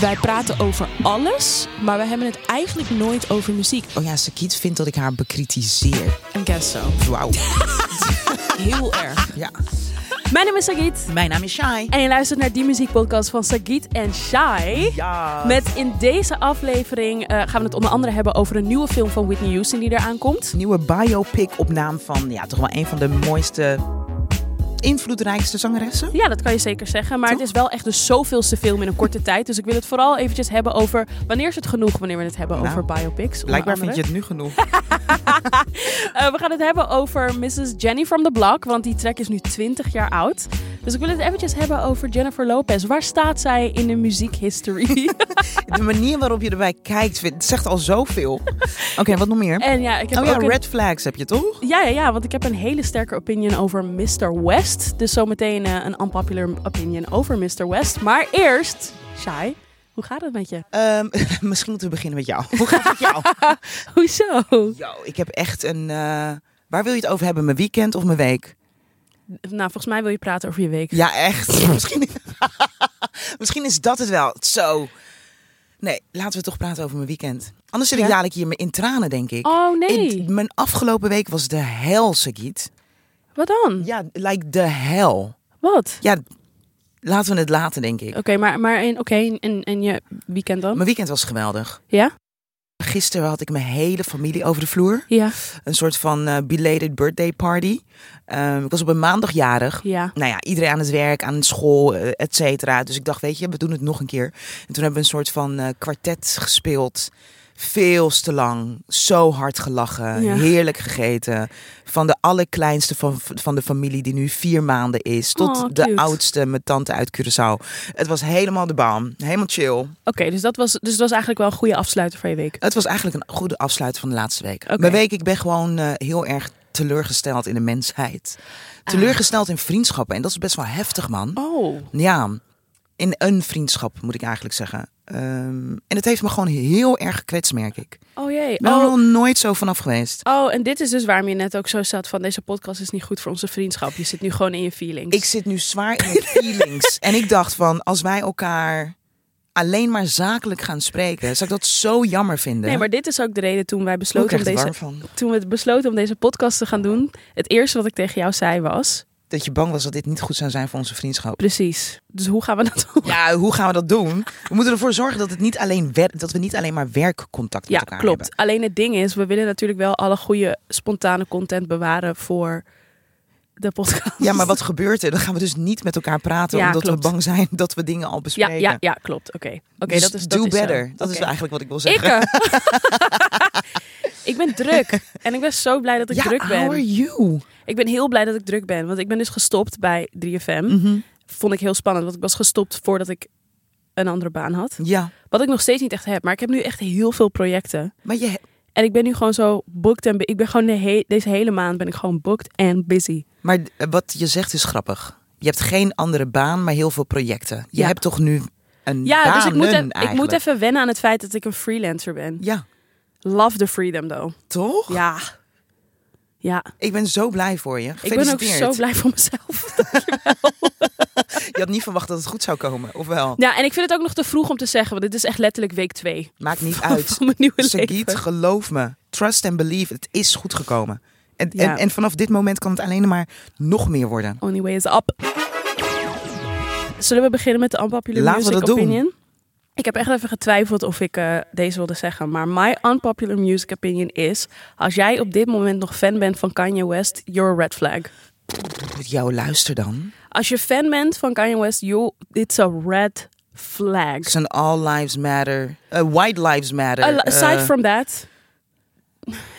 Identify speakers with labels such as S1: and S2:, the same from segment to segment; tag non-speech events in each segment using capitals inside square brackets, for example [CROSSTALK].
S1: Wij praten over alles, maar we hebben het eigenlijk nooit over muziek.
S2: Oh ja, Sakiet vindt dat ik haar bekritiseer.
S1: En guess so.
S2: Wauw.
S3: [LAUGHS]
S1: Heel erg.
S2: ja.
S3: Mijn naam is Sagit.
S2: Mijn naam is Shai.
S3: En je luistert naar die muziekpodcast van Sagit en Shai.
S2: Ja.
S3: Met in deze aflevering eh, gaan we het onder andere hebben over een nieuwe film van Whitney Houston die eraan komt.
S2: Nieuwe biopic op naam van ja, toch wel een van de mooiste, invloedrijkste zangeressen.
S3: Ja, dat kan je zeker zeggen. Maar het is wel echt de zoveelste film in een korte tijd. Dus ik wil het vooral eventjes hebben over wanneer is het genoeg wanneer we het hebben
S2: Nou,
S3: over biopics. onder
S2: Blijkbaar
S3: andere.
S2: vind je het nu genoeg.
S3: Eh, we gaan het hebben over Mrs. Jenny from the Block, want die track is nu 20 jaar oud. Dus ik wil het eventjes hebben over Jennifer Lopez. Waar staat zij in de muziekhistory?
S2: [LAUGHS]
S3: [LAUGHS]
S2: De manier waarop je erbij kijkt, vind- het zegt al [LAUGHS] zoveel. Oké, wat nog meer?
S3: en ja, ik heb
S2: Oh ja,
S3: ook een-
S2: red flags heb je toch?
S3: Ja, ja, ja, want ik heb een hele sterke opinion over Mr. West. Dus zometeen eh, een unpopular opinion over Mr. West. Maar eerst, Shai, hoe gaat het met je?
S2: Ehm, [LAUGHS] misschien moeten we beginnen met jou. Hoe gaat het met [LAUGHS] jou?
S3: Hoezo?
S2: Yo, ik heb echt een... eh, waar wil je het over hebben? Mijn weekend of mijn week?
S3: Nou, volgens mij wil je praten over je week.
S2: Ja, echt. [LAUGHS] misschien, misschien is dat het wel. Zo. Nee, laten we toch praten over mijn weekend. Anders zit ik
S3: Ja?
S2: dadelijk hier in tranen, denk ik.
S3: Oh nee,
S2: Ik- mijn afgelopen week was de hel, Sagiet.
S3: wat dan?
S2: Ja, like de hel.
S3: Wat?
S2: Ja, laten we het laten, denk ik.
S3: Oké, maar, maar in, oké, en, en je weekend dan?
S2: Mijn weekend was geweldig.
S3: Ja?
S2: Gisteren had ik mijn hele familie over de vloer.
S3: Ja.
S2: Een soort van eh, belated birthday party. Ehm, ik was op een maandagjarig.
S3: Ja.
S2: Nou ja, iedereen aan het werk, aan school, eh, et cetera. Dus ik dacht, weet je, we doen het nog een keer. En toen hebben we een soort van eh, kwartet gespeeld. Veel te lang. Zo hard gelachen.
S3: Ja.
S2: Heerlijk gegeten. Van de allerkleinste van, van de familie die nu vier maanden is. Tot
S3: Oh,
S2: de
S3: cute.
S2: oudste, mijn tante uit Curaçao. Het was helemaal de baan. Helemaal chill.
S3: Oké, dus, dat was, dus dat was eigenlijk wel een goede afsluiter van je week.
S2: Het was eigenlijk een goede afsluit van de laatste week.
S3: Oké.
S2: Mijn week, ik ben gewoon eh, heel erg teleurgesteld in de mensheid.
S3: Ah.
S2: Teleurgesteld in vriendschappen. En dat is best wel heftig, man.
S3: Oh.
S2: Ja, in een vriendschap moet ik eigenlijk zeggen. Ehm, en het heeft me gewoon heel erg gekwetst, merk ik.
S3: Oh jee.
S2: Ik ben er
S3: Oh.
S2: nog nooit zo vanaf geweest.
S3: oh, en dit is dus waarom je net ook zo zat van deze podcast is niet goed voor onze vriendschap. Je zit nu gewoon in je feelings.
S2: Ik zit nu zwaar in mijn [LAUGHS] feelings. en ik dacht van, als wij elkaar alleen maar zakelijk gaan spreken, zou ik dat zo jammer vinden.
S3: Nee, maar dit is ook de reden toen wij
S2: Oh, ik
S3: besloten om
S2: krijg er
S3: deze,
S2: warm van.
S3: toen we het besloten om deze podcast te gaan doen. Het eerste wat ik tegen jou zei was.
S2: Dat je bang was dat dit niet goed zou zijn voor onze vriendschap.
S3: Precies. Dus hoe gaan we dat doen?
S2: Ja, hoe gaan we dat doen? We moeten ervoor zorgen dat, het niet alleen wer- dat we niet alleen maar werkcontact
S3: Ja,
S2: met elkaar
S3: klopt.
S2: hebben.
S3: Alleen het ding is, we willen natuurlijk wel alle goede spontane content bewaren voor de podcast.
S2: Ja, maar wat gebeurt er? Dan gaan we dus niet met elkaar praten
S3: Ja,
S2: omdat
S3: klopt.
S2: we bang zijn dat we dingen al
S3: [LAUGHS] Ja,
S2: bespreken.
S3: ja, ja, klopt. Oké, oké,
S2: Dus
S3: dat is
S2: do
S3: dat is zo.
S2: better. dat is
S3: Oké.
S2: eigenlijk wat ik wil zeggen.
S3: Ikke! [LAUGHS] ik ben druk. En ik ben zo blij dat ik
S2: ja,
S3: druk ben.
S2: how are you?
S3: Ik ben heel blij dat ik druk ben. Want ik ben dus gestopt bij 3FM.
S2: Mm.
S3: Vond ik heel spannend. Want ik was gestopt voordat ik een andere baan had.
S2: Ja,
S3: Wat ik nog steeds niet echt heb. Maar ik heb nu echt heel veel projecten.
S2: maar je,
S3: En ik ben nu gewoon zo booked en bu- ik ben gewoon de he- deze hele maand ben ik gewoon booked en busy.
S2: maar eh, wat je zegt is grappig. Je hebt geen andere baan, maar heel veel projecten. Je
S3: Ja.
S2: hebt toch nu een
S3: Ja,
S2: baan
S3: dus ik moet, e- ik
S2: eigenlijk.
S3: moet even wennen aan het feit dat ik een freelancer ben.
S2: Ja,
S3: Love the freedom though.
S2: toch?
S3: Ja. Ja.
S2: Ik ben zo blij voor je.
S3: Ik ben ook
S2: Gefeliciteerd.
S3: zo blij voor mezelf.
S2: Je had niet verwacht dat het goed zou komen, of wel?
S3: ja, en ik vind het ook nog te vroeg om te zeggen, want dit is echt letterlijk week twee
S2: Maakt niet uit.
S3: [LAUGHS] van mijn nieuwe
S2: Sagiet,
S3: leven.
S2: geloof me. Trust and believe. Het is goed gekomen. En,
S3: Ja.
S2: en, en vanaf dit moment kan het alleen maar nog meer worden.
S3: Only way is up. Zullen we beginnen met de unpopular
S2: Laten we
S3: music
S2: dat doen.
S3: opinion? Ik heb echt even getwijfeld of ik eh, deze wilde zeggen. Maar my unpopular music opinion is... Als jij op dit moment nog fan bent van Kanye West, you're a red flag.
S2: Met jou luister dan.
S3: Als je fan bent van Kanye West, you, it's a red flag.
S2: Het zijn all lives matter. eh, white lives matter.
S3: Al- Aside
S2: eh,
S3: from that...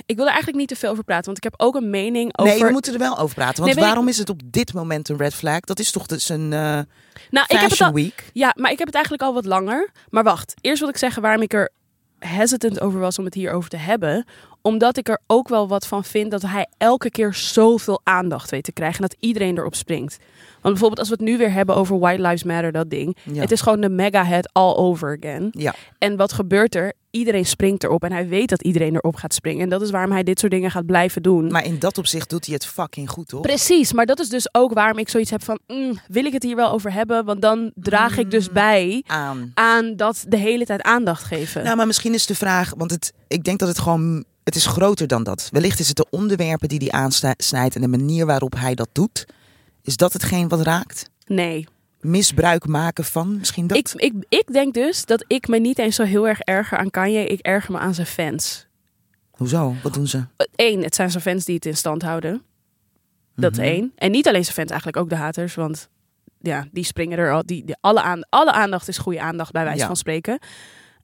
S3: Ik wil er eigenlijk niet te veel over praten, want ik heb ook een mening over...
S2: Nee, we moeten er wel over praten. Want
S3: Nee, weet ik-
S2: waarom is het op dit moment een red flag? Dat is toch dus een eh,
S3: nou, ik
S2: fashion
S3: heb het al,
S2: week?
S3: Ja, maar ik heb het eigenlijk al wat langer. Maar wacht, eerst wil ik zeggen waarom ik er hesitant over was om het hierover te hebben. Omdat ik er ook wel wat van vind dat hij elke keer zoveel aandacht weet te krijgen. En dat iedereen erop springt. Want bijvoorbeeld als we het nu weer hebben over White Lives Matter, dat ding.
S2: Ja.
S3: Het is gewoon de mega head all over again.
S2: Ja.
S3: En wat gebeurt er? Iedereen springt erop. En hij weet dat iedereen erop gaat springen. En dat is waarom hij dit soort dingen gaat blijven doen.
S2: Maar in dat opzicht doet hij het fucking goed, toch?
S3: Precies, maar dat is dus ook waarom ik zoiets heb van... mm, wil ik het hier wel over hebben? Want dan draag ik
S2: Mm.
S3: dus bij
S2: Aan.
S3: aan dat de hele tijd aandacht geven.
S2: Nou, maar misschien is de vraag, want het, ik denk dat het gewoon, het is groter dan dat. Wellicht is het de onderwerpen die hij aansnijdt en de manier waarop hij dat doet. Is dat hetgeen wat raakt?
S3: nee.
S2: Misbruik maken van misschien dat?
S3: Ik, ik, ik denk dus dat ik me niet eens zo heel erg erger aan Kanye. Ik erger me aan zijn fans.
S2: Hoezo? Wat doen ze?
S3: Eén, het zijn zijn fans die het in stand houden. Dat
S2: Mhm.
S3: één. En niet alleen zijn fans, eigenlijk ook de haters. Want ja, die springen er al. Die, die- alle, aan, alle aandacht is goede aandacht, bij wijze
S2: Ja.
S3: van spreken.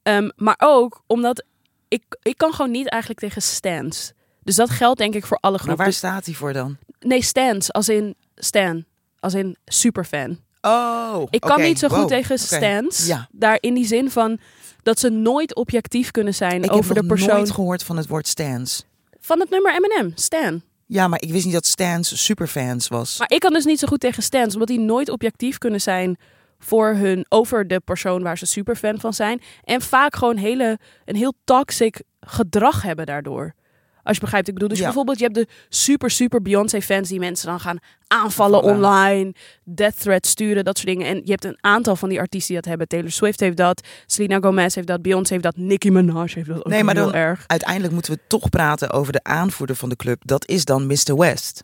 S3: Ehm, maar ook omdat ik, ik kan gewoon niet eigenlijk tegen stands. Dus dat geldt denk ik voor alle
S2: Maar
S3: groepen.
S2: waar staat hij voor dan?
S3: Dus- nee, stands als in Stan. Als in superfan.
S2: Oh,
S3: Ik kan
S2: oké,
S3: niet zo goed
S2: wow,
S3: tegen
S2: oké.
S3: stands.
S2: Ja.
S3: Daar in die zin van dat ze nooit objectief kunnen zijn
S2: Ik
S3: over
S2: heb
S3: de
S2: nog
S3: persoon
S2: nooit gehoord van het woord stans.
S3: van het nummer Eminem, Stan.
S2: Ja, maar ik wist niet dat stans superfans was.
S3: Maar ik kan dus niet zo goed tegen Stans, omdat die nooit objectief kunnen zijn voor hun over de persoon waar ze superfan van zijn en vaak gewoon hele een heel toxic gedrag hebben daardoor. Als je begrijpt, wat ik bedoel, dus
S2: Ja.
S3: bijvoorbeeld je hebt de super super Beyoncé fans die mensen dan gaan aanvallen
S2: Aanvallen.
S3: online, death threat sturen, dat soort dingen. En je hebt een aantal van die artiesten die dat hebben. Taylor Swift heeft dat, Selena Gomez heeft dat, Beyoncé heeft dat, Nicki Minaj heeft dat. Ook
S2: Nee, maar
S3: heel
S2: dan-
S3: erg.
S2: Uiteindelijk moeten we toch praten over de aanvoerder van de club. Dat is dan Mr. West,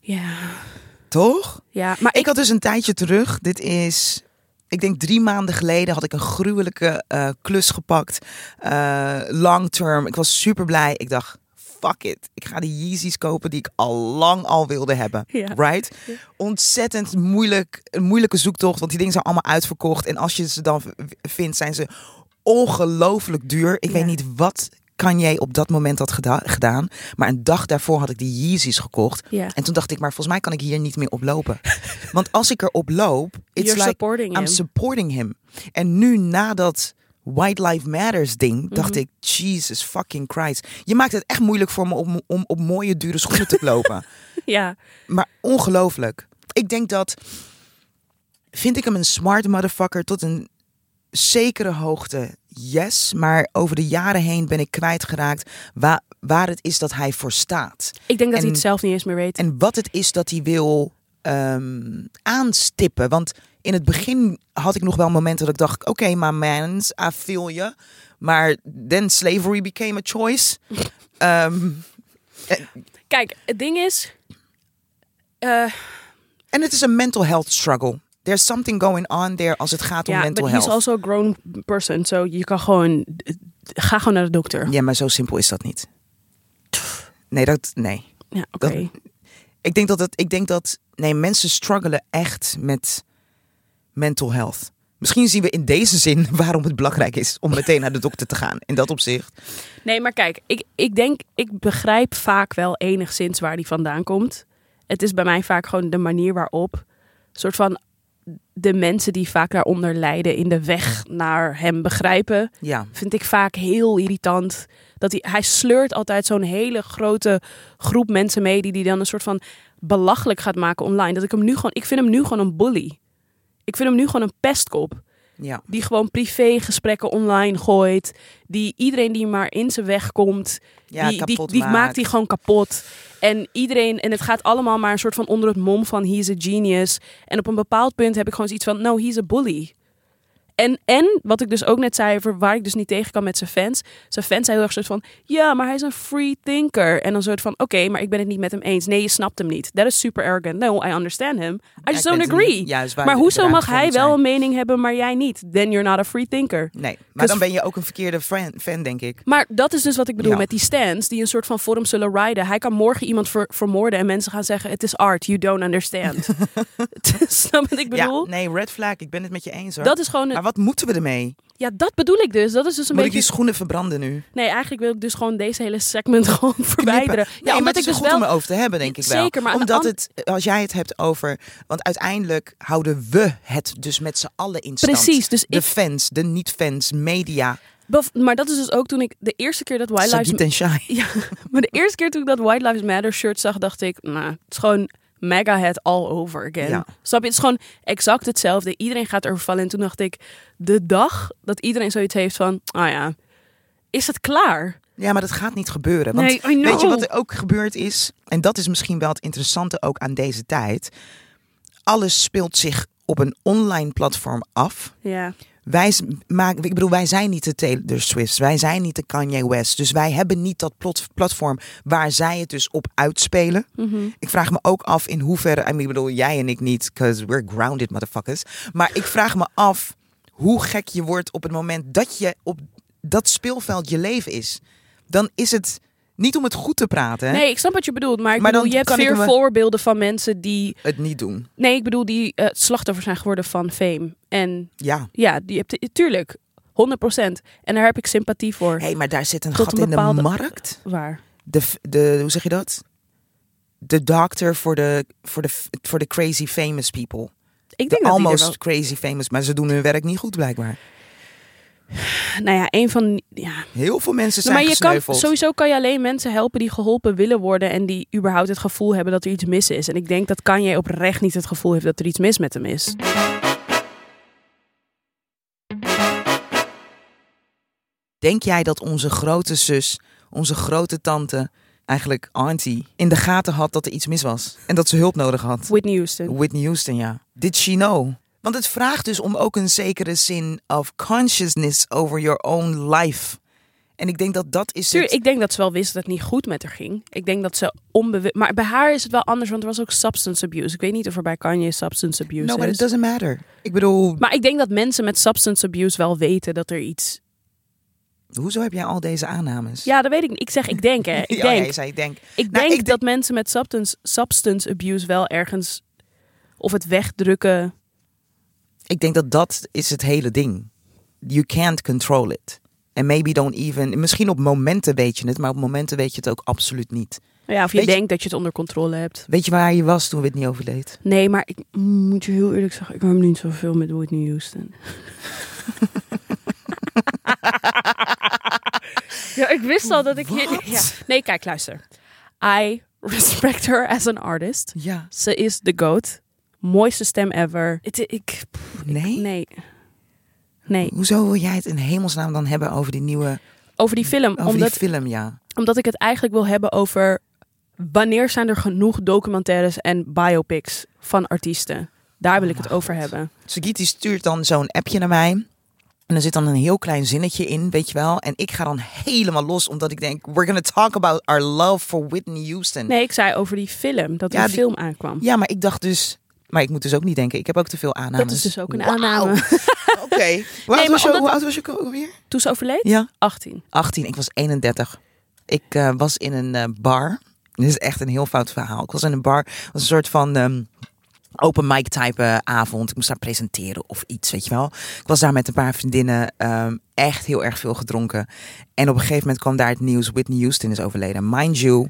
S3: Ja,
S2: toch?
S3: ja. Maar
S2: Ik,
S3: ik,
S2: had dus een tijdje terug, dit is, ik denk drie maanden geleden, had ik een gruwelijke eh, klus gepakt. Eh, long term. Ik was super blij. Ik dacht, fuck it. Ik ga die Yeezys kopen die ik al lang al wilde hebben.
S3: Ja.
S2: [LAUGHS] Right?
S3: Ja.
S2: Ontzettend moeilijk, een moeilijke zoektocht, want die dingen zijn allemaal uitverkocht. En als je ze dan v- vindt, zijn ze ongelooflijk duur. Ik
S3: Ja.
S2: weet niet wat Kanye op dat moment had geda- gedaan. Maar een dag daarvoor had ik die Yeezys gekocht.
S3: ja.
S2: En toen dacht ik, maar volgens mij kan ik hier niet meer op
S3: [LAUGHS]
S2: lopen. Want als ik erop loop, it's
S3: You're
S2: like
S3: supporting
S2: I'm
S3: him.
S2: supporting him. En nu na dat White Life Matters ding, dacht
S3: Mhm.
S2: ik, Jesus fucking Christ. Je maakt het echt moeilijk voor me om, om op mooie, dure schoenen te lopen.
S3: ja.
S2: Maar ongelooflijk. Ik denk dat, vind ik hem een smart motherfucker tot een zekere hoogte, yes. Maar over de jaren heen ben ik kwijtgeraakt waar, waar het is dat hij voor staat.
S3: Ik denk dat hij
S2: En-
S3: het zelf niet eens meer weet.
S2: En wat het is dat hij wil ehm, aanstippen. Want in het begin had ik nog wel momenten dat ik dacht: oké, maar mans, I feel je. Maar then slavery became a choice. Ehm,
S3: Kijk, het ding is. eh,
S2: en het is een mental health struggle. There's something going on there als het gaat om
S3: ja, but
S2: mental
S3: he's
S2: health.
S3: also a grown person. So je kan gewoon. Ga gewoon naar de dokter.
S2: Ja, maar zo simpel is dat niet. Nee, dat, nee.
S3: Ja, oké.
S2: Dat- Ik denk dat het, ik denk dat, nee, mensen struggelen echt met mental health. Misschien zien we in deze zin [LAUGHS] waarom het belangrijk is om meteen naar de dokter te gaan. In dat opzicht.
S3: Nee, maar kijk, ik, ik denk, ik begrijp vaak wel enigszins waar die vandaan komt. Het is bij mij vaak gewoon de manier waarop. soort van de mensen die vaak daaronder lijden in de weg naar hem begrijpen.
S2: Ja.
S3: vind ik vaak heel irritant. Dat hij, hij sleurt altijd zo'n hele grote groep mensen mee die die dan een soort van belachelijk gaat maken online. Dat ik hem nu gewoon, ik vind hem nu gewoon een bully. Ik vind hem nu gewoon een pestkop
S2: ja.
S3: die gewoon privégesprekken online gooit, die iedereen die maar in zijn weg komt,
S2: Ja,
S3: die, die,
S2: kapot
S3: die maakt
S2: maakt.
S3: die gewoon kapot. En iedereen, en het gaat allemaal maar een soort van onder het mom van he is a genius. En op een bepaald punt heb ik gewoon zoiets van, no, he's a bully. En, en wat ik dus ook net zei, over waar ik dus niet tegen kan met zijn fans. Zijn fans zijn heel erg soort van, ja, maar hij is een free thinker. En dan soort van, oké, maar ik ben het niet met hem eens. Nee, je snapt hem niet. That is super arrogant. No, I understand him. I just don't agree.
S2: Ja, is waar
S3: Maar
S2: de-
S3: hoezo
S2: de
S3: mag
S2: ruimte
S3: hij
S2: voor
S3: wel
S2: moet
S3: een mening hebben, maar jij niet? Then you're not a free thinker.
S2: zijn. Nee, maar
S3: Because-
S2: dan ben je ook een verkeerde fan, fan denk ik.
S3: Maar dat is dus wat ik bedoel
S2: Ja.
S3: met die stands die een soort van vorm zullen riden. Hij kan morgen iemand ver- vermoorden en mensen gaan zeggen: Het is art, you don't
S2: [LAUGHS]
S3: understand. [LAUGHS] Dus Snap wat ik bedoel?
S2: Ja, nee, red flag. Ik ben het met je eens hoor.
S3: Dat is gewoon.
S2: Maar wat moeten we ermee?
S3: Ja, dat bedoel ik dus. Dat is dus een
S2: Moet ik
S3: beetje.
S2: die schoenen verbranden nu?
S3: Nee, eigenlijk wil ik dus gewoon deze hele segment [LAUGHS] gewoon verwijderen.
S2: knippen.
S3: Ja,
S2: Nee, maar
S3: omdat
S2: het
S3: ik dus
S2: is goed
S3: wel.
S2: om over te hebben, denk ik wel.
S3: Zeker, maar aan de
S2: Omdat
S3: an-
S2: het, als jij het hebt over... Want uiteindelijk houden we het dus met z'n allen in stand.
S3: Precies, dus
S2: De
S3: ik-
S2: fans, de niet-fans, media.
S3: Bef- Maar dat is dus ook toen ik de eerste keer dat White Lives
S2: Sajid en Shai.
S3: [LAUGHS] Maar de eerste keer toen ik dat White Lives Matter shirt zag, dacht ik, nou, het is gewoon mega head all over again.
S2: Ja.
S3: Snap je? Het is gewoon exact hetzelfde. Iedereen gaat erover vallen. En toen dacht ik, de dag dat iedereen zoiets heeft van, ah ja, is het klaar?
S2: Ja, maar dat gaat niet gebeuren. Want
S3: Nee, I know.
S2: weet je wat er ook gebeurd is? En dat is misschien wel het interessante ook aan deze tijd. Alles speelt zich op een online platform af.
S3: Ja.
S2: Wij, s- maken, ik bedoel, wij zijn niet de Taylor Swift, wij zijn niet de Kanye West. Dus wij hebben niet dat plot- platform waar zij het dus op uitspelen. Ik vraag me ook af in hoeverre, I mean, ik bedoel, jij en ik niet, because we're grounded motherfuckers. Maar ik vraag me af hoe gek je wordt op het moment dat je op dat speelveld je leven is. Dan is het niet om het goed te praten, hè?
S3: Nee, ik snap wat je bedoelt. Maar ik
S2: Maar
S3: bedoel,
S2: dan
S3: je hebt
S2: kan ik
S3: weer
S2: hem-
S3: voorbeelden van mensen die...
S2: het niet doen.
S3: Nee, ik bedoel, die eh, slachtoffer zijn geworden van fame. En
S2: Ja.
S3: ja, die heb je... Tuurlijk, 100%. En daar heb ik sympathie voor.
S2: Hé, maar daar zit een
S3: Tot
S2: gat
S3: een
S2: in
S3: bepaalde-
S2: de markt.
S3: Waar?
S2: de, f- de hoe zeg je dat? De dokter voor de, voor de, f- voor de crazy famous people.
S3: Ik denk
S2: De
S3: dat die er
S2: almost
S3: wel-
S2: crazy famous, maar ze doen hun werk niet goed blijkbaar.
S3: Nou ja, een van... Ja,
S2: Heel veel mensen zijn
S3: Nou, maar je kan,
S2: gesneuveld.
S3: sowieso kan je alleen mensen helpen die geholpen willen worden en die überhaupt het gevoel hebben dat er iets mis is. En ik denk dat Kanye oprecht niet het gevoel heeft dat er iets mis met hem is.
S2: Denk jij dat onze grote zus, onze grote tante, eigenlijk auntie, in de gaten had dat er iets mis was? En dat ze hulp nodig had?
S3: Whitney Houston.
S2: Whitney Houston, ja. Did she know? Want het vraagt dus om ook een zekere zin of consciousness over your own life. En ik denk dat dat is
S3: Tuur,
S2: het...
S3: ik denk dat ze wel wist dat het niet goed met haar ging. Ik denk dat ze onbewust... Maar bij haar is het wel anders, want er was ook substance abuse. Ik weet niet of er bij Kanye substance abuse
S2: No, but it
S3: is.
S2: doesn't matter. Ik bedoel,
S3: Maar ik denk dat mensen met substance abuse wel weten dat er iets...
S2: Hoezo heb jij al deze aannames?
S3: Ja, dat weet ik niet. Ik zeg, ik denk hè. Ik
S2: Oh,
S3: denk,
S2: [LAUGHS] ja, je zei ik denk.
S3: ik denk
S2: Nou, ik denk-
S3: dat mensen met substance, substance abuse wel ergens... Of het wegdrukken...
S2: Ik denk dat dat is het hele ding. You can't control it. And maybe don't even... Misschien op momenten weet je het, maar op momenten weet je het ook absoluut niet.
S3: Ja, of je
S2: Weet je-
S3: denkt dat je het onder controle hebt.
S2: Weet je waar je was toen Whitney overleed?
S3: Nee, maar ik moet je heel eerlijk zeggen, ik heb niet zoveel met Whitney Houston. [LAUGHS] ja, ik wist al dat ik hier. Ja. Nee, kijk, luister. I respect her as an artist.
S2: Ja.
S3: Ze is the goat. Mooiste stem ever. Het- ik,
S2: Nee?
S3: nee. Nee.
S2: Hoezo wil jij het in hemelsnaam dan hebben over die nieuwe...
S3: Over die film.
S2: Over
S3: omdat,
S2: die film, ja.
S3: omdat ik het eigenlijk wil hebben over... wanneer zijn er genoeg documentaires en biopics van artiesten? Daar wil ik
S2: Oh
S3: het over hebben.
S2: Sagiti stuurt dan zo'n appje naar mij. En er zit dan een heel klein zinnetje in, weet je wel. En ik ga dan helemaal los, omdat ik denk... We're gonna talk about our love for Whitney Houston.
S3: Nee, ik zei over die film. Dat er
S2: Ja,
S3: een
S2: die-
S3: film aankwam.
S2: Ja, maar ik dacht dus... Maar ik moet dus ook niet denken. Ik heb ook te veel aannames.
S3: dat is dus ook een
S2: Wauw.
S3: aanname.
S2: [LAUGHS] Oké. Hoe,
S3: maar
S2: oud was je-
S3: omdat-
S2: hoe oud was je ook alweer?
S3: Toen ze overleed?
S2: Ja.
S3: 18. [LAUGHS]
S2: 18, ik was 31. Ik eh, was in een eh, bar. Dit is echt een heel fout verhaal. Ik was in een bar. Het was een soort van ehm, open mic type eh, avond. Ik moest daar presenteren of iets, weet je wel. Ik was daar met een paar vriendinnen. ehm, echt heel erg veel gedronken. En op een gegeven moment kwam daar het nieuws. Whitney Houston is overleden. Mind you,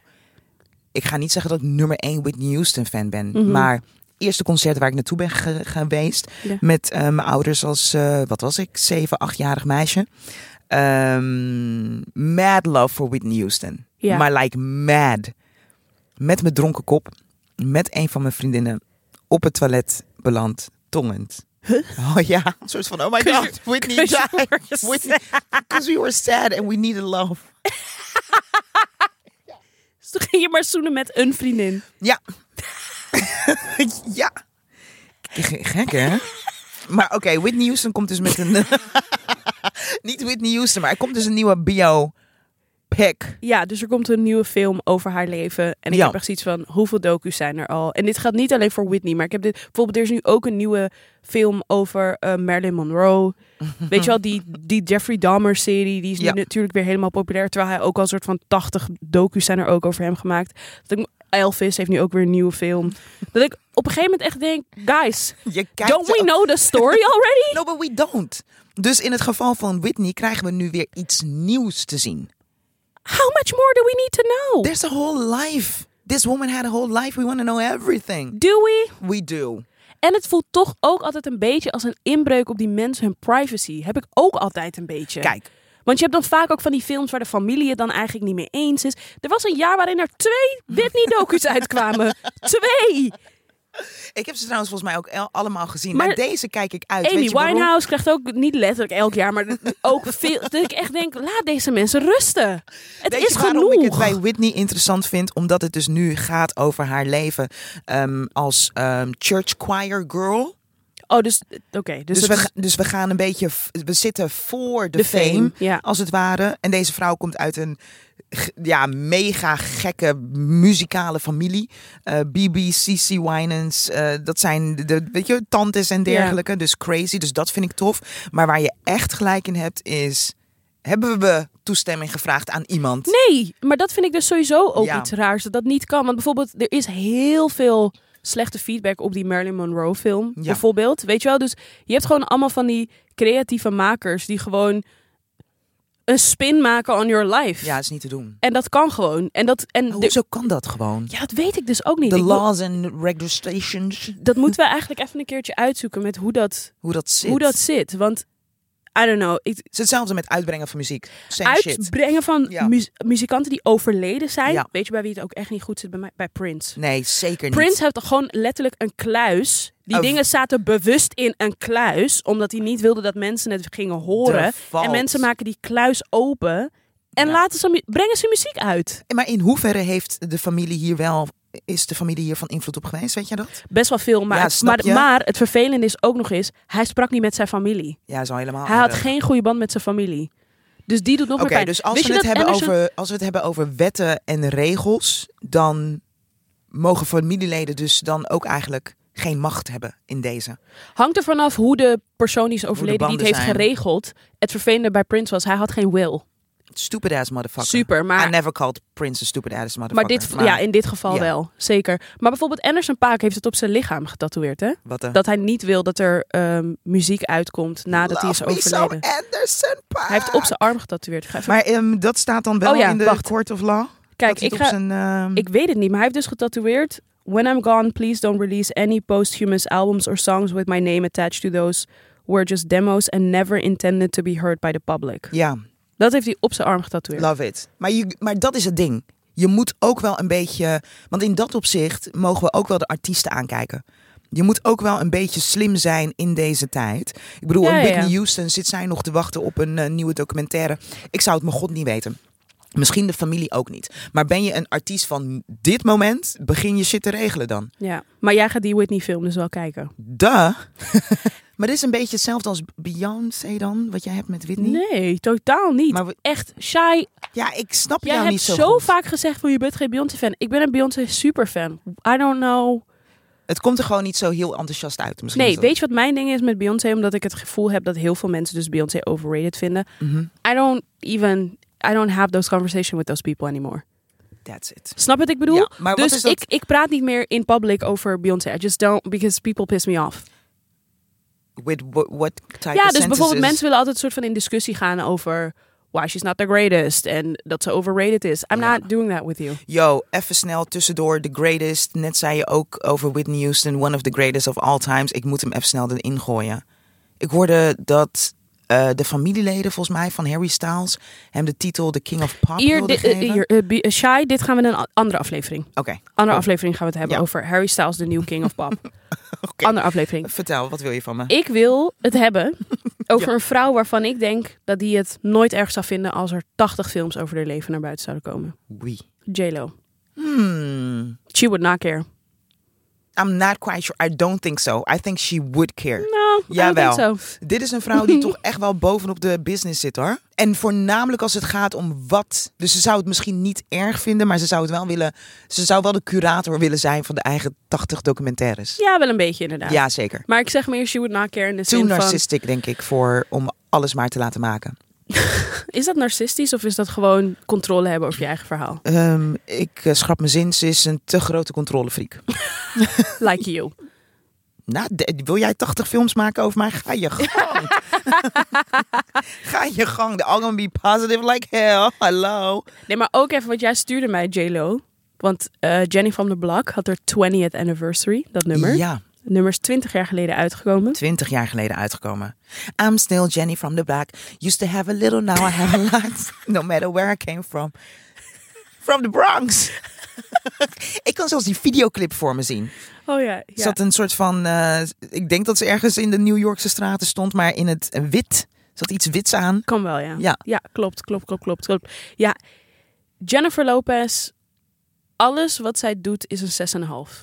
S2: ik ga niet zeggen dat ik nummer 1 Whitney Houston fan ben.
S3: Mhm.
S2: Maar eerste concert waar ik naartoe ben ge- geweest.
S3: Ja.
S2: Met eh, mijn ouders als, eh, wat was ik, 7, 8-jarig meisje. Ehm, mad love voor Whitney Houston.
S3: Ja.
S2: Maar like mad. Met mijn dronken kop. Met een van mijn vriendinnen. Op het toilet beland. Tongend. Oh ja. Een soort van, oh my
S3: Cause
S2: god, Whitney
S3: cause you
S2: died.
S3: were
S2: Whitney, [LAUGHS] because we were sad and we needed love.
S3: Dus toen ging je maar zoenen met een vriendin. [LAUGHS]
S2: Ja. ja. G- Gek, hè? Maar oké, Whitney Houston komt dus met een... [LAUGHS] Niet Whitney Houston, maar er komt dus een nieuwe biopic.
S3: Ja, dus er komt een nieuwe film over haar leven. En ik
S2: Ja.
S3: heb echt zoiets van, hoeveel docu's zijn er al? En dit gaat niet alleen voor Whitney, maar ik heb dit... Bijvoorbeeld, er is nu ook een nieuwe film over eh, Marilyn
S2: [LAUGHS]
S3: Monroe. Weet je wel, die, die Jeffrey Dahmer-serie, die is nu
S2: Ja.
S3: natuurlijk weer helemaal populair. Terwijl hij ook al een soort van 80 docu's zijn er ook over hem gemaakt. Dat ik- Elvis heeft nu ook weer een nieuwe film. Dat ik op een gegeven moment echt denk, guys,
S2: Je kijkt
S3: don't we
S2: zo-
S3: know the story
S2: [LAUGHS]
S3: already?
S2: No, but we don't. Dus in het geval van Whitney krijgen we nu weer iets nieuws te zien.
S3: How much more do we need to know?
S2: There's a whole life. This woman had a whole life. We want to know everything.
S3: Do we?
S2: We do.
S3: En het voelt toch ook altijd een beetje als een inbreuk op die mensen hun privacy. Heb ik ook altijd een beetje.
S2: Kijk,
S3: Want je hebt dan vaak ook van die films waar de familie het dan eigenlijk niet mee eens is. Er was een jaar waarin er twee
S2: [LAUGHS]
S3: Whitney-docu's uitkwamen. Twee!
S2: Ik heb ze trouwens volgens mij ook el- allemaal gezien. Maar,
S3: Maar-
S2: deze kijk ik uit.
S3: Amy
S2: Weet je waarom?
S3: Winehouse krijgt ook, niet letterlijk elk jaar, maar [LAUGHS] ook veel. Dat ik echt denk, laat deze mensen rusten. Het
S2: Weet je
S3: is
S2: waarom
S3: genoeg.
S2: ik het bij Whitney interessant vind? Omdat het dus nu gaat over haar leven ehm, als ehm, church choir girl.
S3: Oh, dus, oké. dus
S2: Dus,
S3: het-
S2: we, ga- dus we gaan een beetje... v- We zitten voor de,
S3: de
S2: fame,
S3: fame. Ja.
S2: als het ware. En deze vrouw komt uit een g- ja, mega gekke muzikale familie. Eh BB, CC Winans, eh, dat zijn de, de- weet je, tantes en dergelijke. Dus crazy, dus dat vind ik tof. Maar waar je echt gelijk in hebt is... Hebben we toestemming gevraagd aan iemand?
S3: Nee, maar dat vind ik dus sowieso ook
S2: Ja.
S3: iets raars dat dat niet kan. Want bijvoorbeeld, er is heel veel slechte feedback op die Marilyn Monroe film.
S2: Ja.
S3: Bijvoorbeeld, weet je wel? Dus je hebt gewoon allemaal van die creatieve makers die gewoon een spin maken on your life.
S2: Ja, is niet te doen.
S3: En dat kan gewoon. En dat, en de-
S2: Hoezo kan dat gewoon?
S3: ja, dat weet ik dus ook niet.
S2: De
S3: Ik moet-
S2: laws and regulations,
S3: dat moeten we eigenlijk even een keertje uitzoeken met hoe dat,
S2: hoe dat zit.
S3: hoe dat zit. Want, I don't know, ik,
S2: Het is hetzelfde met uitbrengen van muziek. Same shit.
S3: uitbrengen van
S2: Ja.
S3: mu- muzikanten die overleden zijn.
S2: Ja.
S3: Weet je bij wie het ook echt niet goed zit? Bij, mij? bij Prince.
S2: Nee, zeker niet.
S3: Prince heeft gewoon letterlijk een kluis. Die
S2: Een-
S3: dingen zaten bewust in een kluis, omdat hij niet wilde dat mensen het gingen horen.
S2: De valt.
S3: En mensen maken die kluis open en
S2: Ja.
S3: laten ze, mu- brengen ze muziek uit.
S2: Maar in hoeverre heeft de familie hier wel... Is de familie hier van invloed op geweest, weet je dat?
S3: Best wel veel, maar,
S2: Ja,
S3: het,
S2: snap
S3: maar,
S2: je?
S3: maar het vervelende is ook nog eens, hij sprak niet met zijn familie.
S2: Ja, is al helemaal
S3: Hij had
S2: aardig.
S3: geen goede band met zijn familie. Dus die doet nog
S2: Ah, Oké,
S3: meer pijn.
S2: dus als
S3: Wist
S2: we,
S3: je
S2: het
S3: dat
S2: hebben
S3: Anderson-
S2: over, als we het hebben over wetten en regels... dan mogen familieleden dus dan ook eigenlijk geen macht hebben in deze.
S3: Hangt er vanaf hoe de persoon die is overleden die het
S2: banden
S3: heeft
S2: zijn.
S3: geregeld. Het vervelende bij Prince was, hij had geen will.
S2: Stupid ass motherfucker.
S3: Super, maar
S2: I never called Prince a stupid ass
S3: Maar,
S2: motherfucker.
S3: dit, ja, in dit geval
S2: Ja.
S3: wel, zeker. Maar bijvoorbeeld Anderson Paak heeft het op zijn lichaam getatoeëerd, hè?
S2: wat een-
S3: Dat hij niet wil dat er ehm, muziek uitkomt nadat hij is
S2: Love me some
S3: overleden.
S2: Anderson Paak.
S3: Hij heeft op zijn arm getatoeëerd. Ik ga even-
S2: Maar ehm, dat staat dan wel
S3: Oh ja,
S2: in de
S3: wacht.
S2: Court of Law?
S3: Kijk,
S2: Dat hij
S3: ik,
S2: het
S3: ga,
S2: op zijn, ehm,
S3: ik weet het niet, maar hij heeft dus getatoeëerd... When I'm gone, please don't release any posthumous albums or songs with my name attached to those were just demos and never intended to be heard by the public.
S2: Ja,
S3: Dat heeft hij op zijn arm getatoeëerd.
S2: love it. Maar, je, maar dat is het ding. Je moet ook wel een beetje... Want in dat opzicht mogen we ook wel de artiesten aankijken. Je moet ook wel een beetje slim zijn in deze tijd. Ik bedoel,
S3: Ja,
S2: een
S3: ja,
S2: Whitney
S3: ja.
S2: Houston zit zij nog te wachten op een eh, nieuwe documentaire. Ik zou het mijn god niet weten. Misschien de familie ook niet. Maar ben je een artiest van dit moment, begin je shit te regelen dan.
S3: Ja. Maar jij gaat die Whitney film dus wel kijken. [LAUGHS]
S2: Duh. maar dit is een beetje hetzelfde als Beyoncé dan, wat jij hebt met Whitney.
S3: Nee, totaal niet.
S2: Maar we-
S3: Echt, shy
S2: Ja, ik snap
S3: Jij
S2: jou
S3: hebt
S2: niet
S3: zo,
S2: zo, goed.
S3: vaak gezegd van je bent geen Beyoncé-fan. Ik ben een Beyoncé-superfan. I don't know.
S2: Het komt er gewoon niet zo heel enthousiast uit. Misschien
S3: Nee,
S2: is dat-
S3: weet je wat mijn ding is met Beyoncé? Omdat ik het gevoel heb dat heel veel mensen dus Beyoncé overrated vinden.
S2: Mhm.
S3: I don't even... I don't have those conversation with those people anymore.
S2: That's it.
S3: Snap je wat ik bedoel?
S2: Ja, maar wat
S3: dus
S2: is dat?
S3: ik, ik praat niet meer in public over Beyoncé. I just don't, because people piss me off.
S2: With what, what type
S3: ja, dus
S2: of
S3: bijvoorbeeld
S2: sentences?
S3: mensen willen altijd soort van in discussie gaan over... Why she's not the greatest. En dat ze overrated is. I'm
S2: Ja.
S3: not doing that with you.
S2: Yo, even snel tussendoor. The greatest. Net zei je ook over Whitney Houston. One of the greatest of all times. Ik moet hem even snel erin gooien. Ik hoorde dat eh, de familieleden volgens mij van Harry Styles hem de titel The King of Pop
S3: Hier,
S2: wilden
S3: di- eh,
S2: geven.
S3: hier, eh, Be- eh, Shy, dit gaan we in een a- andere aflevering.
S2: Oké, [LAUGHS]
S3: Andere
S2: Cool.
S3: aflevering gaan we het hebben
S2: Ja.
S3: over Harry Styles, de new king of pop.
S2: [LAUGHS] Oké.
S3: Andere aflevering.
S2: vertel. Wat wil je van me?
S3: Ik wil het
S2: [LAUGHS]
S3: hebben over
S2: Ja.
S3: een vrouw waarvan ik denk dat die het nooit erg zou vinden als er 80 films over haar leven naar buiten zouden komen.
S2: Wie?
S3: J-Lo.
S2: Hmm.
S3: She would not care.
S2: I'm not quite sure. I don't think so. I think she would care.
S3: Nou,
S2: Jawel.
S3: I don't think so.
S2: Dit is een vrouw
S3: [LAUGHS]
S2: die toch echt wel bovenop de business zit hoor. En voornamelijk als het gaat om wat. Dus ze zou het misschien niet erg vinden, maar ze zou het wel willen. Ze zou wel de curator willen zijn van de eigen 80 documentaires.
S3: Ja, wel een beetje inderdaad.
S2: Ja, zeker.
S3: Maar ik zeg meer, she would not care in de
S2: Too
S3: zin van...
S2: narcistic, denk ik, voor om alles maar te laten maken.
S3: Is dat narcistisch of is dat gewoon controle hebben over je eigen verhaal?
S2: Ehm, ik eh, schrap mijn zin, ze is een te grote controlefreak.
S3: Like you.
S2: Nou, de- wil jij 80 films maken over mij? Ga je gang.
S3: [LAUGHS]
S2: Ga je gang. The all gonna be positive like hell. Hallo.
S3: Nee, maar ook even wat jij stuurde mij, J-Lo. Want eh, Jenny van de Blak had haar 20th anniversary, dat nummer.
S2: Ja,
S3: Nummer is 20 jaar geleden uitgekomen.
S2: 20 jaar geleden uitgekomen. I'm still Jenny from the block. Used to have a little, now I have a lot. [LAUGHS] No matter where I came from. From the Bronx. [LAUGHS] ik kan zelfs die videoclip voor me zien.
S3: Oh ja,
S2: Er Zat een soort van, eh, ik denk dat ze ergens in de New Yorkse straten stond, maar in het wit. Zat iets wits aan.
S3: kan wel ja.
S2: Ja.
S3: klopt, klopt, klopt, klopt, klopt. Ja, Jennifer Lopez, alles wat zij doet is een 6,5.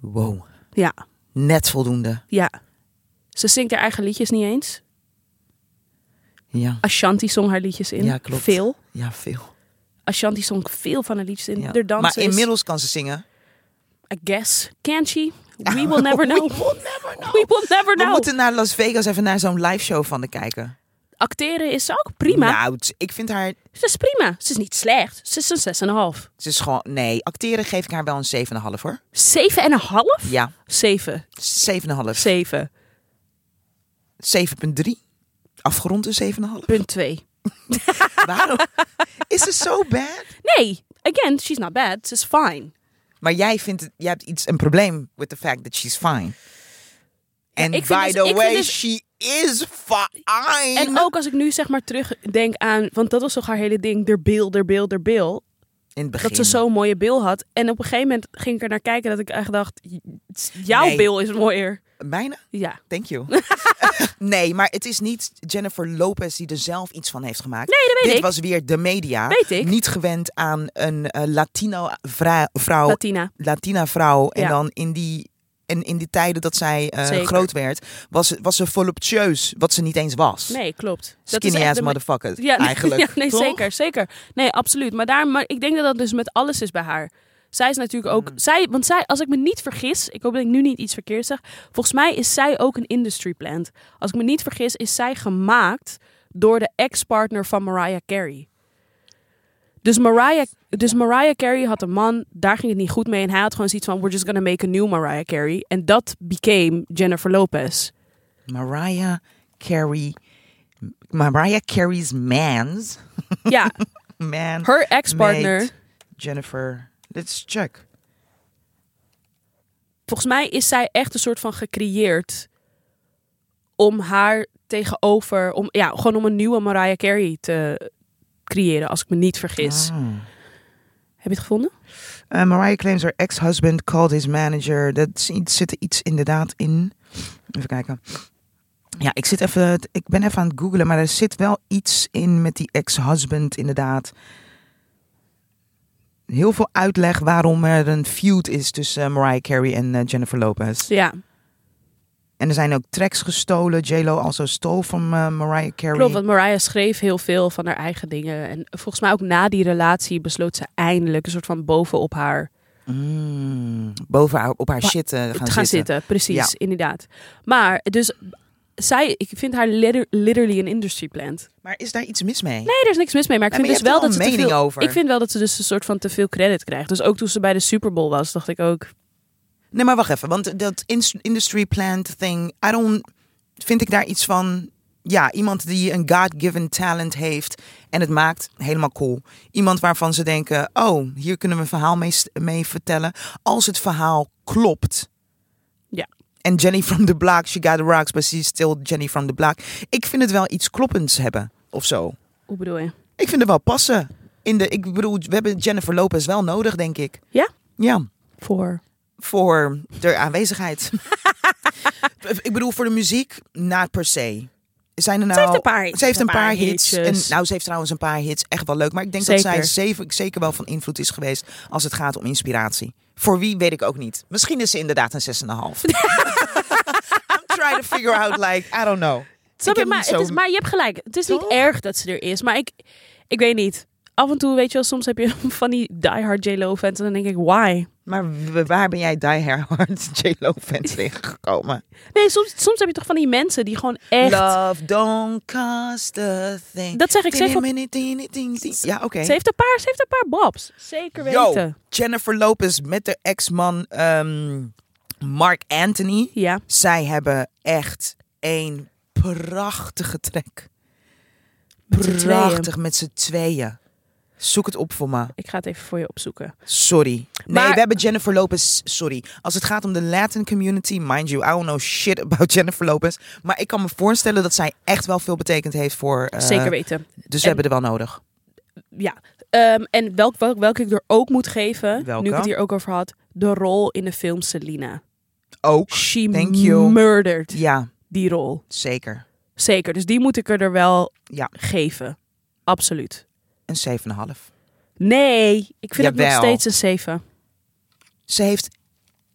S2: Wow.
S3: Ja,
S2: Net voldoende.
S3: ja. Ze zingt haar eigen liedjes niet eens.
S2: Ja,
S3: Ashanti zong haar liedjes in.
S2: Ja, klopt.
S3: Veel.
S2: ja veel.
S3: Ashanti zong veel van haar liedjes in.
S2: Ja.
S3: Er dansen
S2: maar
S3: is-
S2: inmiddels kan ze zingen.
S3: I guess. Can
S2: [LAUGHS]
S3: she? We will never know.
S2: We will never know.
S3: [LAUGHS] We will never
S2: We
S3: know.
S2: moeten naar Las Vegas even naar zo'n live show van de kijken.
S3: Acteren is ook prima.
S2: Nou, t- ik vind haar...
S3: Ze is prima. Ze is niet slecht. Ze is een 6,5.
S2: Ze is gewoon... Nee, acteren geef ik haar wel een 7,5 hoor.
S3: 7,5?
S2: Ja,
S3: 7.
S2: 7,5.
S3: 7.2.
S2: 7,3. Afgerond een 7,5.
S3: [LAUGHS]
S2: Waarom? Is ze zo bad?
S3: Nee, again, she's not bad. She's fine.
S2: Maar jij vindt, het- jij hebt iets een probleem with the fact that she's fine. And
S3: ik vind
S2: by
S3: dus- ik
S2: the
S3: vind
S2: way,
S3: dus-
S2: she is fine.
S3: En ook als ik nu zeg maar terugdenk aan, want dat was toch haar hele ding, der bil, der bil, der bil.
S2: In het begin.
S3: Dat ze zo'n mooie bil had. En op een gegeven moment ging ik er naar kijken dat ik echt dacht, j- jouw
S2: Nee.
S3: bil is mooier.
S2: Bijna.
S3: Ja.
S2: Thank you.
S3: [LAUGHS]
S2: nee, maar het is niet Jennifer Lopez die er zelf iets van heeft gemaakt.
S3: Nee, dat weet
S2: Dit
S3: ik.
S2: was weer de media.
S3: Weet ik.
S2: Niet gewend aan een eh, Latino vra- vrouw.
S3: Latina.
S2: Latina vrouw. En
S3: Ja.
S2: dan in die, en in die tijden dat zij eh,
S3: Zeker.
S2: groot werd, was, ze- was ze voluptueus, wat ze niet eens was.
S3: Nee, klopt. Dat is
S2: Skinny
S3: echt
S2: ass
S3: de-
S2: motherfucker,
S3: Ja, [LAUGHS] nee,
S2: eigenlijk.
S3: ja, nee,
S2: toch?
S3: zeker, zeker. Nee, absoluut. Maar, daar, maar ik denk dat dat dus met alles is bij haar. Zij is natuurlijk
S2: Hmm.
S3: ook... Zij, want zij, als ik me niet vergis... Ik hoop dat ik nu niet iets verkeerd zeg. Volgens mij is zij ook een industry plant. Als ik me niet vergis, is zij gemaakt door de ex-partner van Mariah Carey. Dus Mariah, dus Mariah Carey had een man, daar ging het niet goed mee. En hij had gewoon zoiets van, we're just gonna make a new Mariah Carey. En dat became Jennifer Lopez.
S2: Mariah Carey. Mariah Carey's man's. [LAUGHS]
S3: Ja,
S2: Man.
S3: her ex-partner...
S2: made Jennifer. Let's check.
S3: volgens mij is zij echt een soort van gecreëerd om haar tegenover, om, ja, gewoon om een nieuwe Mariah Carey te creëren, als ik me niet vergis.
S2: Ah.
S3: Heb je het gevonden?
S2: Uh, Mariah claims her ex-husband called his manager. Dat is iets- zit er iets inderdaad in. Even kijken. Ja, ik, zit even, ik ben even aan het googlen, maar er zit wel iets in met die ex-husband inderdaad. Heel veel uitleg waarom er een feud is tussen eh, Mariah Carey en eh, Jennifer Lopez.
S3: Ja,
S2: En er zijn ook tracks gestolen. J-Lo also stole van eh, Mariah Carey.
S3: klopt. Want Mariah schreef heel veel van haar eigen dingen. En volgens mij ook na die relatie besloot ze eindelijk een soort van bovenop haar
S2: Mm, boven haar, op haar
S3: Wa-
S2: shit eh, gaan,
S3: te gaan zitten. Precies,
S2: Ja.
S3: inderdaad. Maar dus zij, ik vind haar liter- literally een industry plant.
S2: Maar is daar iets mis mee?
S3: Nee, er is niks mis mee. Maar ik
S2: Ja, maar
S3: vind
S2: je
S3: dus wel
S2: hebt er
S3: dat ze
S2: wel een
S3: te veel,
S2: mening over.
S3: Ik vind wel dat ze dus een soort van te veel credit krijgt. Dus ook toen ze bij de Super Bowl was, dacht ik ook.
S2: Nee, maar wacht even. Want dat ins- industry plant thing, I don't, vind ik daar iets van. Ja, iemand die een God-given talent heeft en het maakt helemaal cool. Iemand waarvan ze denken, oh, hier kunnen we een verhaal mee, s- mee vertellen. Als het verhaal klopt.
S3: Ja.
S2: En Jenny from the Block, she got the rocks, but she's still Jenny from the Block. Ik vind het wel iets kloppends hebben, of zo.
S3: Hoe bedoel je?
S2: Ik vind het wel passen. In de, ik bedoel, we hebben Jennifer Lopez wel nodig, denk ik.
S3: Ja?
S2: Ja
S3: Voor.
S2: voor de aanwezigheid. [LAUGHS] ik bedoel, voor de muziek, not per se. Zijn er nou,
S3: heeft een paar hits.
S2: Ze heeft een
S3: Een
S2: paar,
S3: paar
S2: hits. En,
S3: hitjes.
S2: nou, ze heeft trouwens een paar hits. Echt wel leuk. Maar ik denk dat zij
S3: Zeker.
S2: zeven, zeker wel van invloed is geweest als het gaat om inspiratie. Voor wie, weet ik ook niet. Misschien is ze inderdaad een 6,5. [LAUGHS] I'm trying to figure out, like, I don't know.
S3: Snap
S2: Ik
S3: je?
S2: heb
S3: Maar,
S2: niet zo-
S3: het is, maar je hebt gelijk. Het is
S2: Toch?
S3: niet erg dat ze er is. Maar ik, ik weet niet. Af en toe, weet je wel, soms heb je [LAUGHS] van die diehard J-Lo fans. En dan denk ik, why?
S2: Maar w- waar ben jij Die Hard [LAUGHS] J-Lo fans tegengekomen?
S3: Nee, soms, soms heb je toch van die mensen die gewoon echt...
S2: Love don't cost a thing.
S3: Dat zeg ik, ze heeft wel-
S2: Ja, oké.
S3: Ze heeft een paar, ze heeft een paar bobs. Zeker
S2: Yo,
S3: weten.
S2: Jennifer Lopez met de ex-man ehm, Mark Anthony.
S3: Ja.
S2: Zij hebben echt een prachtige track.
S3: z'n tweeën.
S2: Prachtig met z'n tweeën. Zoek het op voor me.
S3: Ik ga het even voor je opzoeken.
S2: Sorry. Nee,
S3: Maar-
S2: we hebben Jennifer Lopez. Sorry. Als het gaat om de Latin community, mind you, I don't know shit about [LAUGHS] Jennifer Lopez. Maar ik kan me voorstellen dat zij echt wel veel betekend heeft voor. eh,
S3: Zeker weten.
S2: Dus we
S3: En-
S2: hebben er wel nodig.
S3: Ja. Ehm, en welk, welk, welke ik er ook moet geven,
S2: Welke?
S3: nu ik het hier ook over had, de rol in de film Selena.
S2: Ook.
S3: She
S2: Thank you.
S3: murdered
S2: Ja,
S3: die rol.
S2: zeker.
S3: Zeker. Dus die moet ik er wel
S2: Ja.
S3: geven. Absoluut.
S2: Een 7,5.
S3: Nee, ik vind het
S2: Jawel.
S3: nog steeds een 7.
S2: Ze heeft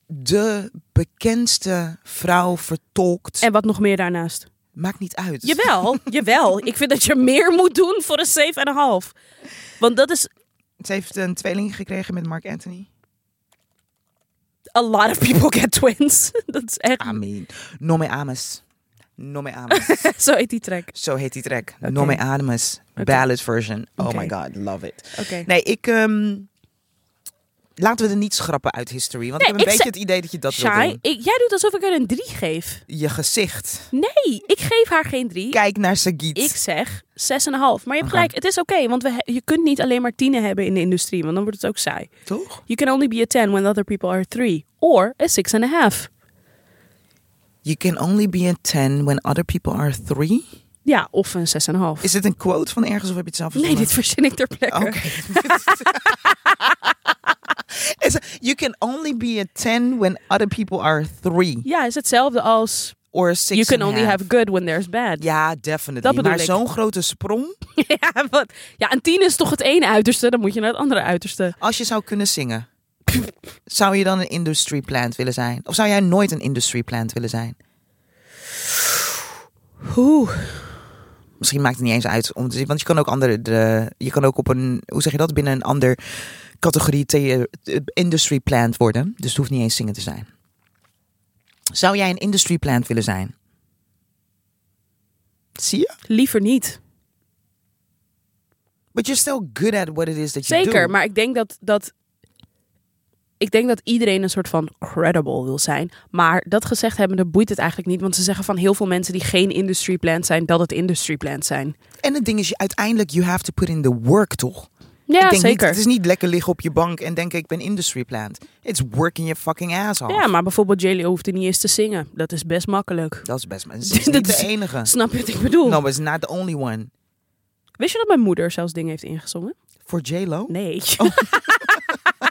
S2: de bekendste vrouw vertolkt.
S3: En wat nog meer daarnaast.
S2: Maakt niet uit. [LAUGHS]
S3: Jawel, jawel. Ik vind dat je meer moet doen voor een 7,5. Want dat is
S2: Ze heeft een tweeling gekregen met Mark Anthony.
S3: a lot of people get twins. [LAUGHS] Dat is echt.
S2: Amen. Nome Ames. Nome
S3: [LAUGHS]
S2: Ames.
S3: Zo heet die track.
S2: Zo heet die track.
S3: Oké.
S2: Nome Ames. Ballad version. Oh
S3: Oké.
S2: my god, love it.
S3: Oké.
S2: Nee, ik... ehm, laten we er niet schrappen uit history. Want
S3: Nee,
S2: ik heb een
S3: ik
S2: beetje
S3: zei-
S2: het idee dat je dat wil
S3: Shai,
S2: doen.
S3: ik, jij doet alsof ik er een 3 geef.
S2: Je gezicht.
S3: Nee, ik geef haar geen 3.
S2: Kijk naar Sagiet.
S3: Ik zeg 6,5. Maar je hebt gelijk, het is oké. want we, he- je kunt niet alleen maar tienen hebben in de industrie. Want dan wordt het ook saai.
S2: Toch?
S3: You can only be a 10 when other people are 3. Or a 6,5.
S2: You can only be a 10 when other people are 3.
S3: Ja, of een 6,5.
S2: Is dit een quote van ergens of heb je het zelf
S3: Nee,
S2: verzonnen?
S3: dit verzin ik ter plekke.
S2: Oké. Is- you can only be a 10 when other people are 3
S3: Ja, is hetzelfde als
S2: or 6.
S3: You can only have good when there's bad. [LAUGHS]
S2: Ja,
S3: Dat
S2: definitely.
S3: bedoel
S2: Maar
S3: ik.
S2: zo'n grote sprong.
S3: Ja, wat? ja, een tien is toch het ene uiterste, dan moet je naar het andere uiterste.
S2: Als je zou kunnen zingen, zou je dan een industry plant willen zijn? Of zou jij nooit een industry plant willen zijn?
S3: Oeh.
S2: Misschien maakt het niet eens uit om te zien. Want je kan ook andere. de- je kan ook op een. Hoe zeg je dat? Binnen een ander categorie the- industry plant worden. Dus het hoeft niet eens zingen te zijn. Zou jij een industry plant willen zijn? Zie je?
S3: Liever niet.
S2: But you're still good at what it is that you
S3: Zeker,
S2: do.
S3: maar ik denk dat, dat... Ik denk dat iedereen een soort van credible wil zijn. Maar dat gezegd hebbende boeit het eigenlijk niet. Want ze zeggen van heel veel mensen die geen industry plant zijn, dat het industry plant zijn.
S2: En het ding is, je- uiteindelijk, you have to put in the work, toch?
S3: Ja,
S2: ik denk Niet,
S3: zeker.
S2: het is niet lekker liggen op je bank en denken, ik ben industry plant. It's working your fucking ass off.
S3: Ja, maar bijvoorbeeld J.Lo hoeft er niet eens te zingen. Dat is best makkelijk.
S2: Dat is
S3: [LAUGHS]
S2: best... Maar ze is
S3: Dat
S2: niet de
S3: is-
S2: enige.
S3: Snap je wat ik bedoel?
S2: No, but it's not the only one.
S3: Wist je dat mijn moeder zelfs dingen heeft ingezongen?
S2: Voor J-Lo?
S3: Nee. [LAUGHS]
S2: Oh.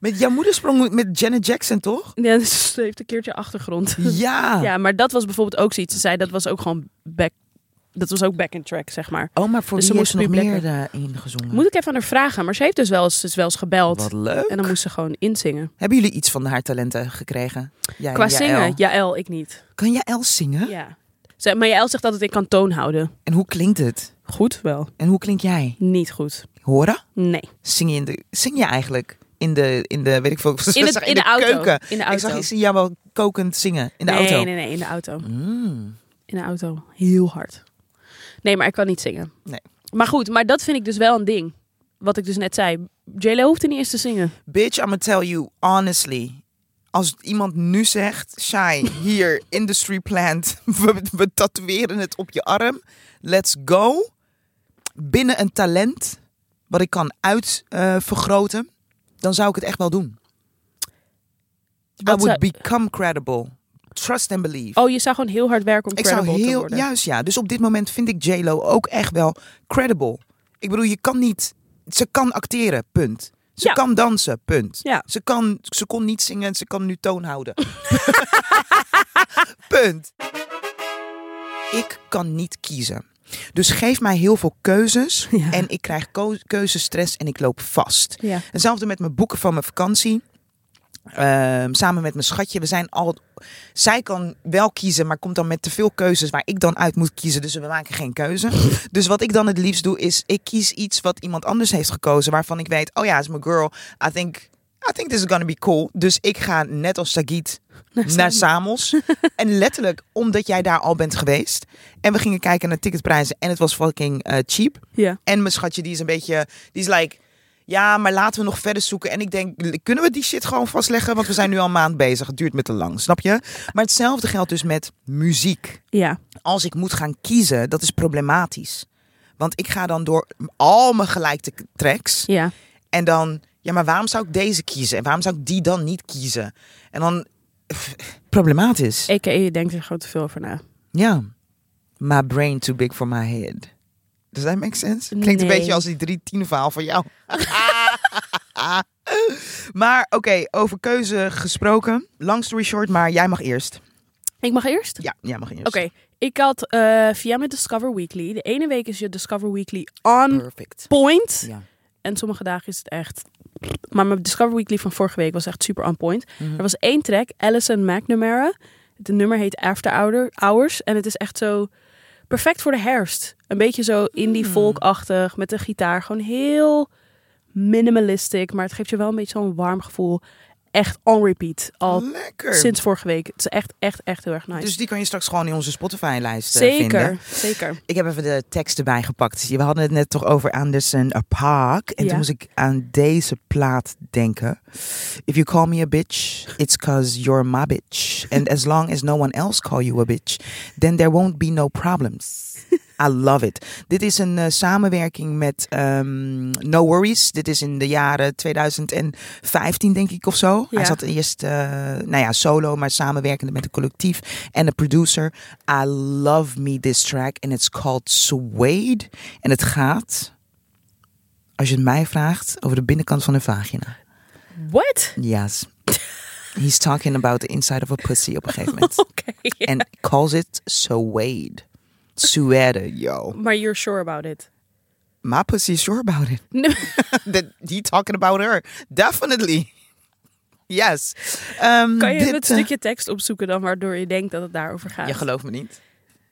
S2: Met jouw moeder sprong met Janet Jackson,
S3: [LAUGHS]
S2: toch?
S3: Ja, dus ze heeft een keertje achtergrond.
S2: Ja.
S3: Ja, maar dat was bijvoorbeeld ook zoiets. Ze zei dat was ook gewoon back. Dat was ook back in track, zeg maar.
S2: Oh, maar voor
S3: Dus
S2: wie
S3: ze
S2: is er nog
S3: moest
S2: meer
S3: publiek-
S2: eh, ingezongen?
S3: Moet ik even aan haar vragen. Maar ze heeft dus wel eens, is wel eens gebeld.
S2: Wat leuk.
S3: En dan moest ze gewoon inzingen.
S2: Hebben jullie iets van haar talenten gekregen? Jij en
S3: Qua
S2: Jaël.
S3: zingen, Jaël, ik niet.
S2: Kan Jaël zingen?
S3: Ja. Ze, maar Jaël zegt altijd, ik kan toon houden.
S2: En hoe klinkt het?
S3: Goed wel.
S2: En hoe klink jij?
S3: Niet goed.
S2: Horen? [LAUGHS]
S3: Nee.
S2: Zing je, in de, zing je eigenlijk in de, in de, weet ik veel, [LAUGHS] ik
S3: In, het,
S2: zag
S3: in, de, auto.
S2: keuken?
S3: In de
S2: Ik
S3: auto.
S2: zag, ik zie jou wel kokend zingen in de
S3: nee,
S2: auto.
S3: Nee, nee, in de auto.
S2: Mm.
S3: In de auto. Heel hard. Nee, maar ik kan niet zingen.
S2: Nee.
S3: Maar goed, maar dat vind ik dus wel een ding. Wat ik dus net zei. JLo hoeft er niet eens te zingen.
S2: Bitch, I'ma tell you honestly. Als iemand nu zegt, Shai,
S3: [LAUGHS]
S2: hier, industry plant, [LAUGHS] we, we tatoeëren het op je arm, let's go. Binnen een talent, wat ik kan uitvergroten, dan zou ik het echt wel doen.
S3: Wat
S2: I would
S3: zou-
S2: become credible. Trust and believe.
S3: Oh, je zou gewoon heel hard werken om
S2: ik zou
S3: credible te
S2: heel,
S3: worden.
S2: juist ja, dus op dit moment vind ik J-Lo ook echt wel credible. Ik bedoel, je kan niet, ze kan acteren, punt. Ze
S3: Ja.
S2: kan dansen, punt.
S3: Ja.
S2: Ze, kan, ze kon niet zingen, ze kan nu toon houden. Punt. Ik kan niet kiezen. Dus geef mij heel veel keuzes
S3: Ja.
S2: en ik krijg ko- keuzestress en ik loop vast.
S3: Ja.
S2: Hetzelfde met mijn boeken van mijn vakantie. Ehm, samen met mijn schatje. We zijn al. Zij kan wel kiezen, maar komt dan met te veel keuzes waar ik dan uit moet kiezen. Dus we maken geen [LAUGHS] keuze. Dus wat ik dan het liefst doe, is ik kies iets wat iemand anders heeft gekozen. Waarvan ik weet, oh ja, is mijn girl. I think, I think this is gonna be cool. Dus ik ga net als Sagit naar Samos. [LAUGHS] en letterlijk, omdat jij daar al bent geweest. En we gingen kijken naar ticketprijzen. En het was fucking eh, cheap.
S3: Ja.
S2: En mijn schatje, die is een beetje. Die is like. Ja, maar laten we nog verder zoeken. En ik denk, l- kunnen we die shit gewoon vastleggen? Want we zijn nu al een maand bezig. Het duurt me te lang, snap je? Maar hetzelfde geldt dus met muziek.
S3: Ja.
S2: Als ik moet gaan kiezen, dat is problematisch. Want ik ga dan door al mijn gelijkte tracks.
S3: Ja.
S2: En dan, ja, maar waarom zou ik deze kiezen? En waarom zou ik die dan niet kiezen? En dan, problematisch.
S3: EKE, je E denkt er gewoon te veel over na.
S2: Ja. My brain too big for my head. Does that make sense? Klinkt een
S3: Nee.
S2: beetje als die drie tien verhaal van jou. [LAUGHS] maar oké, over keuze gesproken. Long story short, maar jij mag eerst.
S3: Ik mag eerst?
S2: Ja, jij mag eerst.
S3: Oké, ik had eh, via mijn Discover Weekly. De ene week is je Discover Weekly on
S2: Perfect.
S3: point.
S2: Ja.
S3: En sommige dagen is het echt... Maar mijn Discover Weekly van vorige week was echt super on point.
S2: Mhm.
S3: Er was één track, Alison McNamara. Het nummer heet After Hour- Hours. En het is echt zo perfect voor de herfst. Een beetje zo indie
S2: Hmm.
S3: folkachtig met een gitaar. Gewoon heel minimalistic. Maar het geeft je wel een beetje zo'n warm gevoel. Echt on repeat. Al
S2: Lekker.
S3: sinds vorige week. Het is echt, echt, echt heel erg nice.
S2: Dus die kan je straks gewoon in onze Spotify-lijst eh,
S3: zeker,
S2: vinden.
S3: zeker.
S2: Ik heb even de tekst erbij gepakt. We hadden het net toch over Anderson Park. En
S3: Ja.
S2: toen moest ik aan deze plaat denken. If you call me a bitch, it's cause you're my bitch. And as long as no one else call you a bitch, then there won't be no problems. I love it. Dit is een eh, samenwerking met ehm, No Worries. Dit is in de jaren 2015, denk ik, of zo. Hij
S3: Ja.
S2: zat eerst, eh, nou ja, solo, maar samenwerkende met een collectief en een producer. I love me this track and it's called Suede. En het gaat, als je het mij vraagt, over de binnenkant van een vagina.
S3: What? [LAUGHS]
S2: Yes. He's talking about the inside of a pussy op een gegeven moment.
S3: Oké.
S2: [LAUGHS] And calls it Suede. Suede, yo.
S3: Maar you're sure about it.
S2: My pussy is sure about it.
S3: Nee.
S2: [LAUGHS] That he talking about her. Definitely. [LAUGHS] Yes. Ehm,
S3: Kan je
S2: dit,
S3: het
S2: eh,
S3: stukje tekst opzoeken dan waardoor je denkt dat het daarover gaat?
S2: Je gelooft me niet.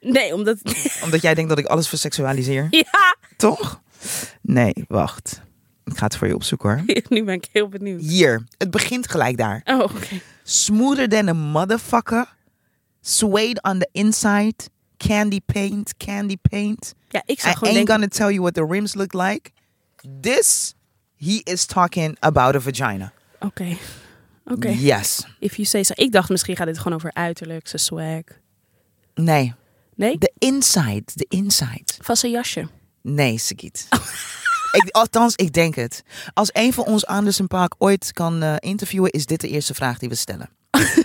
S3: Nee, omdat... [LAUGHS]
S2: Omdat jij denkt dat ik alles verseksualiseer.
S3: ja, [LAUGHS]
S2: Toch? Nee, wacht. Ik ga het voor je opzoeken hoor.
S3: nu ben ik heel benieuwd.
S2: Hier, het begint gelijk daar.
S3: Oh, oké.
S2: Smoother than a motherfucker. Suede on the inside. Candy paint, candy paint.
S3: Ja, ik
S2: I
S3: zou gewoon
S2: ain't
S3: denken...
S2: gonna tell you what the rims look like. This, he is talking about a vagina.
S3: Oké. Oké,
S2: Yes.
S3: if you say so. Ik dacht misschien gaat dit gewoon over uiterlijk, zijn swag.
S2: Nee.
S3: Nee?
S2: The inside, the inside.
S3: Van zijn jasje. [LAUGHS]
S2: Nee, Sagiet. ik, althans, ik denk het. Als een van ons Anderson Paak ooit kan eh, interviewen, is dit de eerste vraag die we stellen.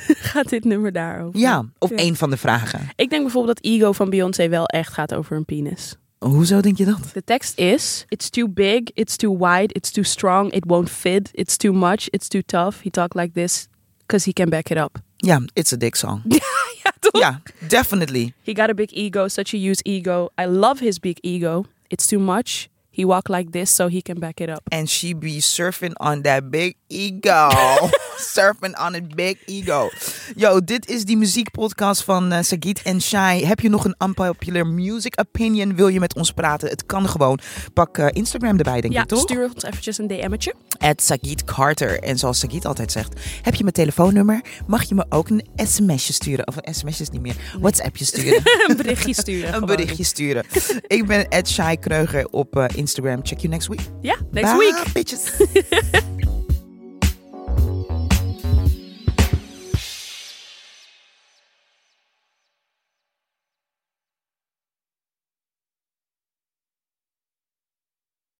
S3: Gaat dit nummer daarover?
S2: Ja, of
S3: Ja.
S2: één van de vragen.
S3: Ik denk bijvoorbeeld dat Ego van Beyoncé wel echt gaat over een penis.
S2: Hoezo denk je dat?
S3: De tekst is: It's too big, it's too wide, it's too strong, it won't fit, it's too much, it's too tough. He talk like this because he can back it [LAUGHS] up.
S2: Ja, it's a dick song.
S3: Ja, toch? [LAUGHS]
S2: ja, definitely.
S3: He got a big ego, such a huge ego. I love his big ego. It's too much. He walk like this so he can back it up.
S2: And she be surfing on that big ego. surfing on a big ego. Yo, dit is die muziekpodcast van eh, Sagit en Shai. Heb je nog een unpopular music opinion? Wil je met ons praten? Het kan gewoon. Pak eh, Instagram erbij, denk
S3: ja,
S2: ik, toch?
S3: stuur ons eventjes een [LAUGHS] DM'tje.
S2: at Sagit Carter. En zoals Sagit altijd zegt, heb je mijn telefoonnummer, mag je me ook een sms'je sturen. Of een sms'je is niet meer,
S3: [LAUGHS]
S2: WhatsAppje sturen.
S3: Een berichtje sturen.
S2: een
S3: gewoon.
S2: berichtje sturen. Ik ben at Shai Kreuger op eh, Instagram. Check you next week.
S3: Ja, next
S2: Bye,
S3: week.
S2: bitches.